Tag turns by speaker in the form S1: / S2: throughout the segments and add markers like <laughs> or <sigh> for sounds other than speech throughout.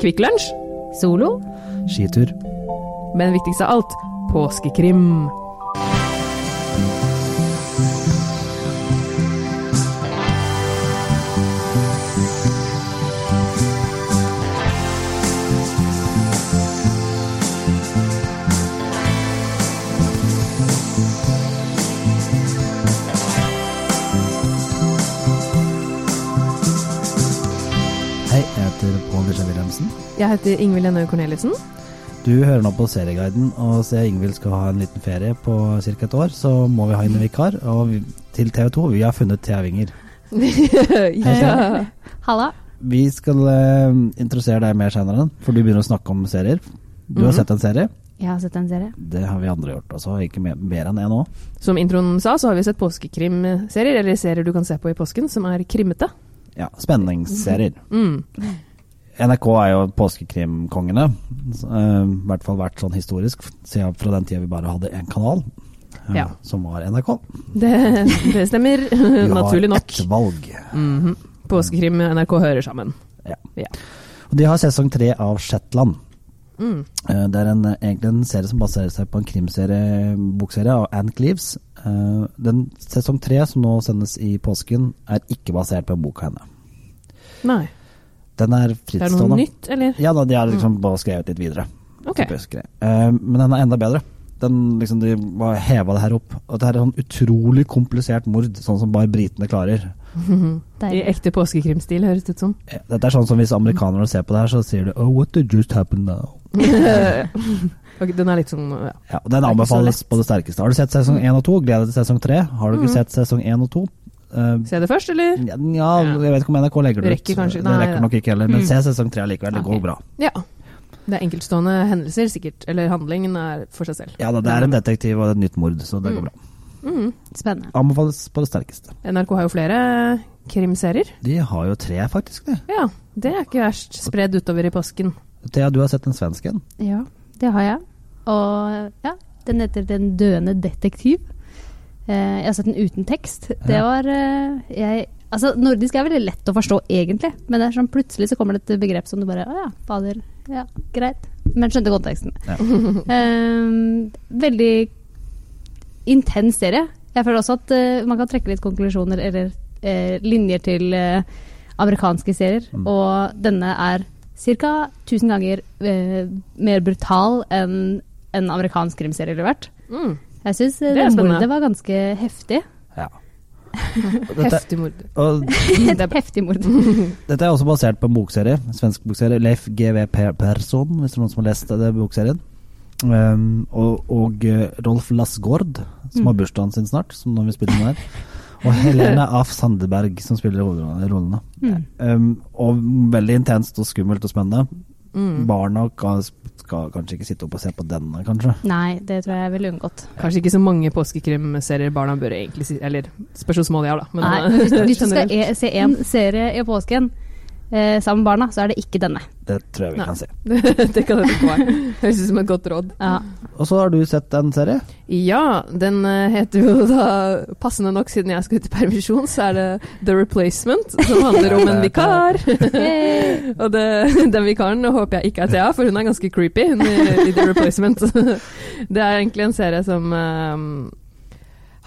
S1: Kvikk Lunsj, solo,
S2: Skitur.
S1: men viktigst av alt, påskekrim.
S2: Hei, jeg heter Pål Kristian Wilhelmsen.
S1: Jeg heter Ingvild Ennøy <laughs> Corneliussen.
S2: Du hører nå på Serieguiden, og siden Ingvild skal ha en liten ferie på ca. et år, så må vi ha inn en vikar. Og vi, til TV 2, vi har funnet Thea Winger.
S1: ja.
S3: Halla.
S2: Vi skal eh, introdusere deg mer senere, for du begynner å snakke om serier. Du har
S1: Mhm.
S2: sett en serie.
S3: Jeg har sett en serie.
S2: Det har vi andre gjort også, ikke mer, mer enn én òg.
S1: Som introen sa, så har vi sett påskekrimserier, eller serier du kan se på i påsken, som er krimmete.
S2: Ja, spenningsserier.
S1: Mm.
S2: NRK er jo påskekrimkongene. så, eh, I hvert fall vært sånn historisk, siden fra den tida vi bare hadde én kanal, eh,
S1: Ja.
S2: som var <laughs> NRK.
S1: Det, det
S2: <laughs>
S1: stemmer,
S2: Vi
S1: <laughs> naturlig
S2: har
S1: nok.
S2: ett valg.
S1: Mhm. Påskekrim og NRK hører sammen.
S2: Ja.
S1: Ja.
S2: Og de har sesong tre av Shetland.
S1: Mm.
S2: Eh, Det er en, egentlig en serie som baserer seg på en krimserie, bokserie av Anne Cleaves. Eh, Den sesong tre som nå sendes i påsken, er ikke basert på en bok av henne.
S1: Nei.
S2: Den er
S1: Det er noe
S2: frittstående.
S1: nytt, eller?
S2: Ja da, de har liksom bare skrevet litt videre.
S1: Ok.
S2: typisk greie. Eh, Men den er enda bedre. Den liksom, De bare heva det her opp. Og det her er sånn utrolig komplisert mord, sånn som bare britene klarer.
S1: I ekte påskekrimstil, høres det ut som.
S2: Eh, Dette er sånn som hvis amerikanere ser på det her, så sier de Oh, what did just happen now?
S1: Ok, Den er litt sånn ja.
S2: Ja, og Den
S1: Det er ikke så
S2: anbefales på det sterkeste. Har du sett sesong én og to, gled deg til sesong tre. Har du ikke
S1: Mhm.
S2: sett sesong én og to? eh,
S1: Se det først, eller?
S2: ja, ja, jeg vet ikke om NRK legger det
S1: Det
S2: ut.
S1: rekker kanskje-
S2: det
S1: nei, Mm.
S2: rekker nok ikke heller. Men se sesong tre likevel, det
S3: Ok.
S2: går bra.
S1: Ja. Det er enkeltstående hendelser, sikkert. Eller handlingen er for seg selv.
S2: Ja da, Det er en detektiv og et nytt mord, så det
S1: Mm.
S2: går bra.
S3: Spennende.
S2: Anbefales på det sterkeste.
S1: NRK har jo flere krimserier.
S2: De har jo tre, faktisk. de.
S1: Ja, det er ikke verst. Spredd utover i påsken.
S2: Thea, du har sett den svensken?
S3: Ja, det har jeg. Og ja, den heter Den døende detektiv. Eh, Jeg har sett den uten tekst. Det
S2: Ja.
S3: var eh, jeg, Altså, nordisk er veldig lett å forstå, egentlig. Men det er sånn plutselig så kommer det et begrep som du bare Å ja, fader. Ja, greit. Men skjønte konteksten.
S2: Ja.
S3: <laughs> Eh, veldig intens serie. Jeg føler også at eh, man kan trekke litt konklusjoner eller eh, linjer til eh, amerikanske serier.
S2: Mm.
S3: Og denne er ca. 1000 ganger eh, mer brutal enn en amerikansk krimserie ville vært.
S1: Mm.
S3: Jeg syns
S1: Det er spennende.
S3: mordet var
S1: <laughs>
S3: ganske heftig.
S2: Ja. Dette,
S1: Heftig mord.
S2: og
S3: Et heftig
S1: <laughs>
S3: mord.
S1: Mm.
S2: dette er også basert på en bokserie, en svensk bokserie. Leif G.V. Per- Persson, hvis det er noen som har lest den bokserien. Um, og, og eh, Rolf Lassgaard, som har bursdagen sin snart, som når vi spiller den her. Og Helene Af Sandeberg, som spiller hovedrollene- rollene. Um, og veldig intenst og skummelt og spennende.
S1: Mm.
S2: Barna ka- skal kanskje ikke sitte opp og se på denne, kanskje.
S3: Nei, det tror jeg jeg ville unngått.
S1: Kanskje ikke så mange påskekrimserier barna bør egentlig si Eller spørs hvor små de er, da. Men, eh,
S3: Nei, hvis,
S1: <laughs>
S3: hvis du skal e se en serie i påsken eh, sammen med barna, så er det ikke denne.
S2: Det tror jeg vi
S1: Nei.
S2: kan se.
S3: <laughs>
S1: det kan det ikke være. Høres ut som et godt råd.
S3: Ja.
S2: Og så har du sett en serie.
S1: Ja, den eh, heter jo da Passende nok, siden jeg skal ut i permisjon, så er det The Replacement, som handler om en <laughs> vikar. <laughs>
S3: Hey.
S1: Og det, den vikaren håper jeg ikke er Thea, for hun er ganske creepy hun i, i The Replacement. <laughs> Det er egentlig en serie som eh,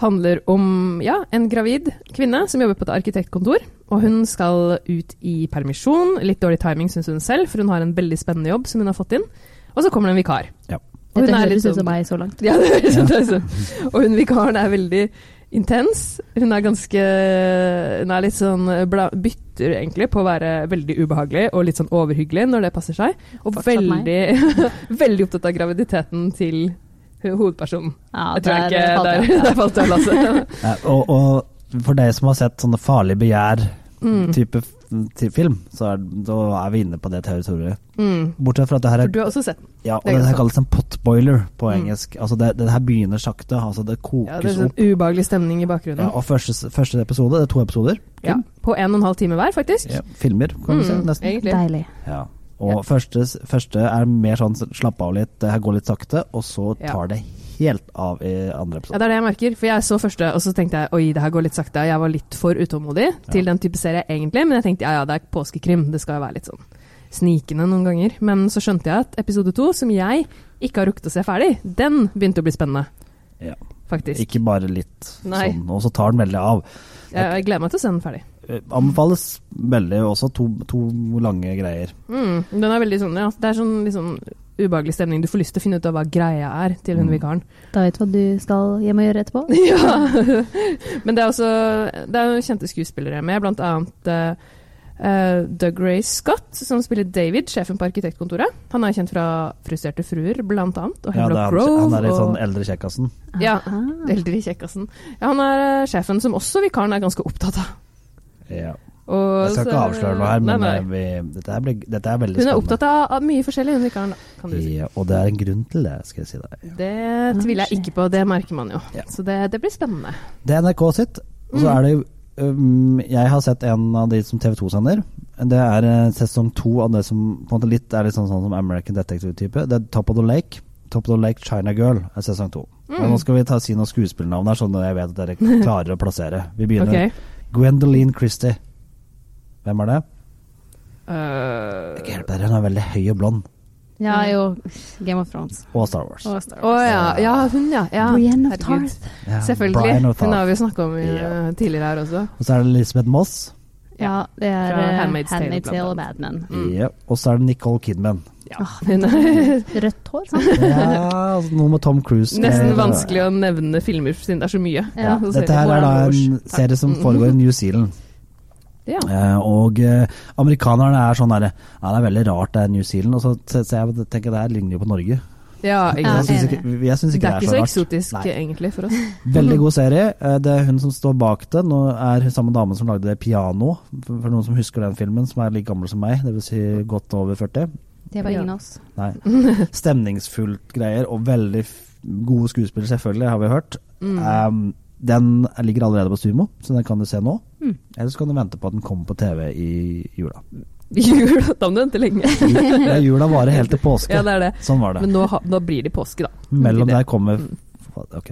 S1: handler om ja, en gravid kvinne som jobber på et arkitektkontor. Og hun skal ut i permisjon. Litt dårlig timing, syns hun selv, for hun har en veldig spennende jobb som hun har fått inn. Og så kommer det en vikar.
S2: Ja.
S1: Og hun
S3: Dette
S1: er litt
S3: høres ut
S1: sånn-
S3: som meg så langt.
S1: ja, det høres ut som. Og hun vikaren er veldig intens. Hun er ganske Hun er litt sånn bla, bytter egentlig på å være veldig ubehagelig og litt sånn overhyggelig når det passer seg. Og
S3: Fortsatt meg.
S1: veldig, <laughs> veldig opptatt av graviditeten til ho- hovedpersonen.
S3: Ja,
S1: jeg tror
S3: der eh,
S1: ikke
S3: falt
S1: Der,
S3: jeg av, ja.
S1: <laughs> der falt jeg av <laughs> lasset.
S2: Ja, Eh, og, og for deg som har sett sånne farlige
S1: Mm.
S2: begjær-type film, så er, da er vi inne på det territoriet.
S1: Mm.
S2: Bortsett fra at det her
S1: For
S2: er
S1: du har også sett den.
S2: ja, og
S1: det er
S2: det her
S1: sant.
S2: kalles en potboiler på engelsk. Altså det, det her begynner sakte, altså det kokes
S1: Ja, det er sånn
S2: opp.
S1: ubehagelig stemning i
S2: Ja,
S1: bakgrunnen.
S2: og første, første episode, det er to episoder,
S1: Ja, på en og en halv time hver, faktisk.
S2: ja, filmer kan vi si,
S1: Mm,
S2: nesten.
S1: egentlig.
S3: Deilig.
S2: Ja. Og Første, første er mer sånn slapp av litt, det her går litt sakte, og så
S1: Ja.
S2: tar det helt av i
S1: Ja,
S2: andre episode.
S1: det er det jeg merker. For jeg så første, og så tenkte jeg oi, det her går litt sakte. Jeg var litt for utålmodig til den type serie egentlig, men jeg tenkte ja ja, det er påskekrim, det skal jo være litt sånn snikende noen ganger. Men så skjønte jeg at episode to, som jeg ikke har rukket å se ferdig, den begynte å bli spennende.
S2: Ja.
S1: Faktisk.
S2: Ikke bare litt
S1: Nei.
S2: sånn, og så tar den veldig av.
S1: Jeg, jeg gleder meg til å se den ferdig.
S2: Eh, Anbefales veldig også to, to lange greier.
S1: Mm, den er veldig sånn, ja, det er sånn litt sånn ubehagelig stemning. Du får lyst til å finne ut av hva greia er til hun
S2: Mm.
S1: vikaren.
S3: Da vet du hva du skal hjem og gjøre etterpå.
S1: <laughs> Ja. Men det er også det er jo kjente skuespillere med, blant annet eh, eh, Doug Ray Scott, som spiller David, sjefen på arkitektkontoret. Han er kjent fra 'Frustrerte fruer', blant annet, og
S2: Ja, det
S1: Hemlock
S2: er,
S1: Grove.
S2: han er litt sånn
S1: og
S2: eldre kjekkasen.
S1: Ja.
S3: Ah.
S1: Eldre Kjekkasen. sånn. Ja, han er eh, sjefen som også vikaren er ganske opptatt av.
S2: Ja.
S1: Og
S2: Jeg skal ikke
S1: så-
S2: avsløre noe her, men
S1: nei,
S2: eh,
S1: nei.
S2: Vi, dette, her blir, dette er veldig
S1: Hun er
S2: spennende.
S1: opptatt av, av mye forskjellig, hun vikaren. da, Kan du si.
S2: Ja, og det er en grunn til det, skal jeg si deg.
S1: Det tviler jeg ikke på, det merker man jo.
S2: Ja.
S1: Så det, det blir spennende.
S2: Det er NRK sitt, og
S1: Mm.
S2: så er det um, Jeg har sett en av de som TV 2 sender. Det er eh, sesong to av det som på en måte litt er litt sånn, sånn som American Detective-type. Det er Top of the Lake. Top of the Lake China Girl er sesong to.
S1: Mm.
S2: Og nå skal vi ta, si noen skuespillernavn her, sånn at jeg vet at dere
S1: <laughs>
S2: klarer å plassere. Vi begynner.
S1: Ok.
S2: Gwendoline Christie. Hvem er det?
S1: Eh,
S2: Ikke hjelp dere, hun er veldig høy og blond.
S3: Ja, jo. Game of Thrones.
S2: Og Star Wars.
S3: Og Star
S1: Å ja. ja, hun ja. ja.
S3: Brienne of
S1: Herregud.
S3: Tarth.
S2: Ja, Brian
S1: Selvfølgelig. Hun har
S2: O'Tarr.
S1: vi jo snakka om eh,
S2: Ja.
S1: tidligere her også.
S2: Og så er det Elisabeth Moss.
S3: Ja, det er
S1: Fra
S3: eh,
S1: Handmaid's
S3: Handmaid's,
S1: Tale, blant
S3: Tale og
S1: annet.
S3: Bad Men.
S1: Mm.
S2: Ja. Og så er det Nicole Kidman.
S1: Hun er
S3: <laughs> Rødt hår, sant?
S2: Ja, altså, noe med Tom Cruise. skal
S1: nesten
S2: jeg-
S1: vanskelig å nevne filmer siden det er så mye.
S2: Ja,
S1: Så
S2: dette
S1: ser vi
S2: her er
S1: hvordan
S2: da
S1: det
S2: en
S1: går. Mm.
S2: serie som foregår i New Zealand.
S1: Ja.
S2: Eh, og eh, amerikanerne er sånn derre Ja, det er veldig rart det er New Zealand. Og så se- ser jeg og tenker det her ligner jo på Norge.
S1: ja, ikke
S3: Ja,
S2: Jeg
S1: sant.
S2: syns ikke, jeg synes
S1: Det
S2: ikke
S1: er ikke så
S2: rart.
S1: eksotisk
S2: Nei.
S1: egentlig for oss.
S2: Veldig god serie. Eh, Det er hun som står bak det. Nå er hun samme dame som lagde det 'Piano', for for noen som husker den filmen, som er like gammel som meg, dvs. Si godt over 40.
S3: Det var ingen av oss.
S2: Nei. <laughs> Stemningsfullt greier, og veldig f gode skuespillere, selvfølgelig, har vi hørt.
S1: Mm. <laughs>
S2: Um, den ligger allerede på Sumo, så den kan du se nå.
S1: Mm.
S2: Eller så kan du vente på at den kommer på TV i
S1: <laughs>
S2: jula.
S1: Jul, da må du vente lenge.
S2: <laughs> Ja, jula varer helt til
S1: <laughs>
S2: påske.
S1: Ja, det er det.
S2: Sånn var det.
S1: Men nå, ha- nå blir det påske, da. Det
S2: Mellom
S1: Mm. blir
S2: der
S1: det.
S2: kommer Ok.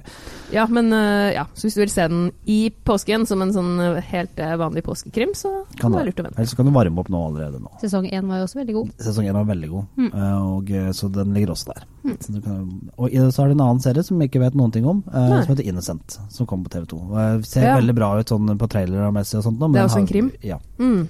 S1: Ja, men eh, ja, så hvis du vil se den i påsken som en sånn eh, helt eh, vanlig påskekrim, så kan det
S2: Kan du-
S1: være lurt å vente.
S2: Eller så kan du varme opp nå allerede nå.
S3: Sesong én var jo også veldig god.
S2: Sesongen var veldig god,
S1: Mm.
S2: eh, og, eh, så den ligger også der. Så du kan, og i det så er det en annen serie som jeg ikke vet noen ting om, eh,
S1: Nei.
S2: som heter Innocent, som kommer på TV 2. Og, eh, ser
S1: Ja.
S2: veldig bra ut sånn på trailermessig og sånt. nå, men
S1: Det er også
S2: har-
S1: en krim?
S2: Ja.
S1: Mm.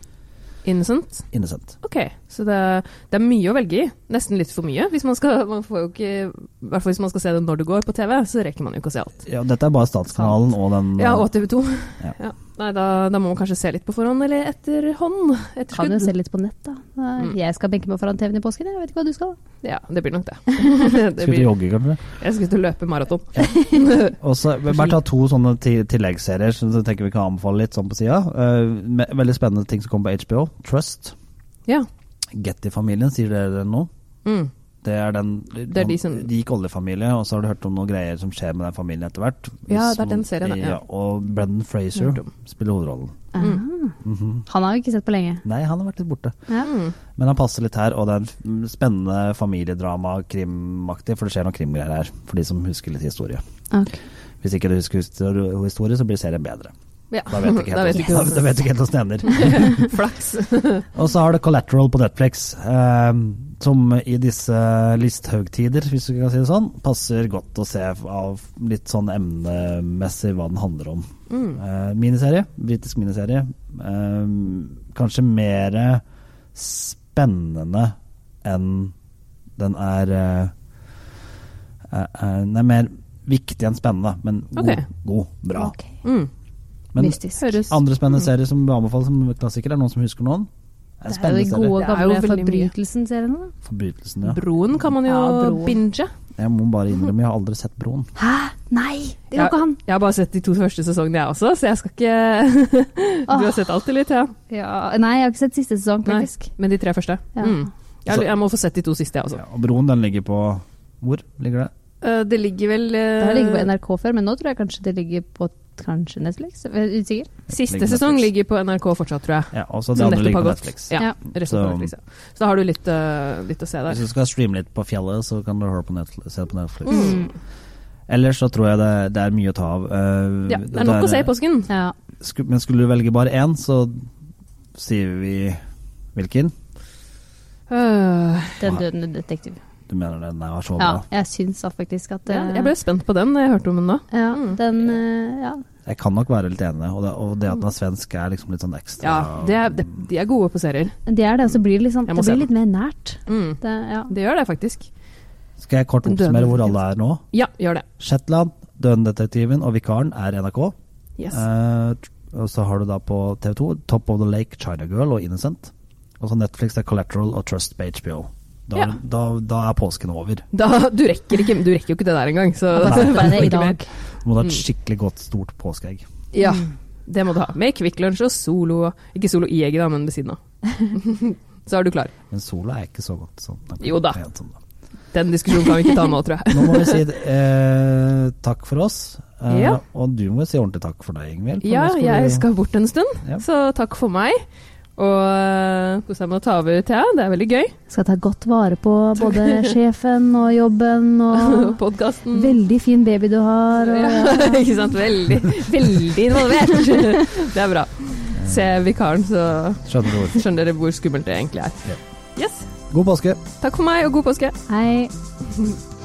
S1: Innocent.
S2: Innocent.
S1: Ok, så det, det er mye å velge i. Nesten litt for mye. Hvis man skal, man får jo ikke, I hvert fall hvis man skal se det når det går på TV, så rekker man jo ikke å se alt.
S2: Ja, dette er bare Statskanalen og den eh,
S1: Ja, og TV 2.
S2: Ja.
S1: <laughs> Ja. Nei, da, da må man kanskje se litt på forhånd, eller etter hånd. Etter
S3: Kan jo
S1: skudd.
S3: se litt på nett, da. Da- Jeg skal benke meg foran TV-en i påsken, jeg vet ikke hva du skal.
S1: Ja, det blir nok det. det
S2: Skal du
S1: blir,
S2: jogge, kanskje?
S1: jeg skal ut og løpe maraton.
S2: Og så vil jeg bare ta to sånne ti- tilleggsserier som jeg tenker vi kan anbefale litt sånn på sida. veldig spennende ting som kommer på HBO. Trust.
S1: <laughs> Ja.
S2: Getty-familien, sier dere noe?
S1: Mm.
S2: Det er den
S1: Det er de som-
S2: rik oljefamilie, og så har du hørt om noen greier som skjer med den familien etter hvert.
S1: Ja,
S2: Som-
S1: det er den serien, ja.
S2: og Brendan Fraser
S1: Hørt om.
S2: spiller hovedrollen.
S3: Mm.
S2: Mhm.
S3: Ah. Han har jo ikke sett på lenge.
S2: Nei, han har vært litt borte.
S3: Ja.
S1: Mm.
S2: Men han passer litt her, og det er en f- m, spennende familiedrama, krimaktig, for det skjer noen krimgreier her, for de som husker litt historie.
S3: Ok.
S2: Hvis ikke du husker histor- historie, så blir serien bedre.
S1: ja.
S2: Da vet du
S1: <laughs>
S2: ikke
S1: Da
S2: helt,
S1: vet du
S2: <laughs> da- da vet du ikke helt hvordan det ender.
S1: <laughs> ikke. Flaks.
S2: Og så har det Collateral på Netflix, eh, som i disse Listhaug-tider, hvis du kan si det sånn, passer godt å se av litt sånn emnemessig hva den handler om.
S1: Mm.
S2: Eh, miniserie, britisk miniserie. Eh, kanskje mer spennende enn den er eh, eh, eh, Den er mer viktig enn spennende, men god,
S1: Ok.
S2: god bra.
S3: Ok.
S1: Mm.
S2: Men
S3: Mystisk.
S1: Høres
S2: andre spennende serier som blir anbefalt som klassikere, er noen som husker noen? En
S3: Det er jo de
S2: spennende serie.
S3: gode
S1: Det er jo
S3: gamle
S1: veldig mye.
S3: Forbrytelsen-seriene. da.
S2: Forbrytelsen, ja.
S1: Broen kan man jo
S3: Ja, Broen.
S1: binge.
S2: Jeg må bare innrømme, jeg har aldri sett Broen.
S1: <laughs>
S3: Hæ? Nei! Det går
S1: Jeg,
S3: ikke an!
S1: jeg har bare sett de to første sesongene, jeg også, så jeg skal ikke <laughs> Du har sett alt, eller, Thea?
S3: Ja. Nei, jeg har ikke sett siste sesong,
S1: Nei,
S3: faktisk.
S1: men de tre første.
S3: Ja.
S1: Mm. Jeg,
S2: Så-
S1: jeg må få sett de to siste, jeg også.
S2: Ja, og Broen den ligger på Hvor ligger det?
S1: Eh, det ligger vel
S3: Det
S1: eh,
S3: har ligget på NRK før, men nå tror jeg kanskje det ligger på kanskje Netflix? Jeg er Usikker.
S1: Siste
S2: Ligger på
S1: sesong
S2: Netflix.
S1: ligger på NRK fortsatt, tror jeg.
S2: Ja, også det
S1: Som
S2: andre
S1: nettopp
S2: ligger
S1: har
S2: på
S1: gått.
S2: Netflix.
S1: Ja,
S3: Ja.
S1: resten
S2: Så-
S1: på Netflix, ja. Så da har du litt, eh, litt å se der.
S2: Hvis du skal streame litt på fjellet, så kan du høre på Netflix, se det på Netflix.
S1: Mm.
S2: Ellers så tror jeg det, det er mye å ta av. Eh,
S1: Ja, det er nok å se i påsken.
S3: Ja.
S2: sku- Men skulle du velge bare én, så sier vi hvilken?
S1: Øh,
S3: Den dødende detektiv.
S2: Du mener den der var så
S3: Ja,
S2: bra?
S3: jeg syns da faktisk at
S1: ja,
S3: eh,
S1: jeg ble spent på den da jeg hørte om den nå.
S3: ja,
S1: Mm.
S3: den, eh, ja.
S2: Jeg kan nok være litt enig, og det, og det at den er svensk er liksom litt sånn ekstra
S1: Ja, det er, det, De er gode på serier.
S3: Det er det, og så blir det litt, sånn,
S1: Jeg
S3: det
S1: må se
S3: blir litt mer nært.
S1: Mm.
S3: Det, ja.
S1: Det gjør det faktisk.
S2: Skal jeg kort
S1: Den døde
S2: oppsummere hvor alle er nå?
S1: Ja, gjør det.
S2: Shetland, Dødendetektiven og Vikaren er NRK.
S1: Yes.
S2: Eh, og så har du da på TV 2 Top of the Lake, China Girl og Innocent. Og så Netflix det er Collateral og Trust på HBO. Da,
S1: Ja.
S2: da, da er påsken over.
S1: Da, du, rekker ikke, du rekker jo ikke det der engang, så
S3: Da setter jeg det i
S1: Ikke mer.
S3: dag.
S2: Du
S1: Mm.
S2: må ha et skikkelig godt, stort påskeegg.
S1: Ja, Mm. det må du ha. Med Kvikk Lunsj og Solo Ikke Solo i egget, da, men ved siden
S2: <laughs>
S1: av. Så er du klar.
S2: Men sola er ikke så godt sånn.
S1: Jo da.
S2: Pent som det.
S1: Den diskusjonen kan vi ikke ta nå, tror jeg.
S2: Nå må vi si eh, takk for oss. Eh,
S1: Ja.
S2: Og du må si ordentlig takk for deg, Ingvild. for
S1: Ja,
S2: nå
S1: jeg
S2: vi-
S1: skal bort en stund,
S2: Ja.
S1: så takk for meg. Og eh, kos deg med å ta over Thea, det er veldig gøy.
S3: Skal ta godt vare på <laughs> både sjefen og jobben
S1: <laughs>
S3: <laughs> og
S1: Podkasten.
S3: Veldig fin baby du har. Og,
S1: <laughs> Ikke sant. Veldig, veldig involvert. <laughs> Det er bra. Se vikaren, så
S2: Skjønner du ord.
S1: skjønner dere hvor skummelt det egentlig er. Yes.
S2: God påske!
S1: Takk for meg, og god påske.
S3: hei.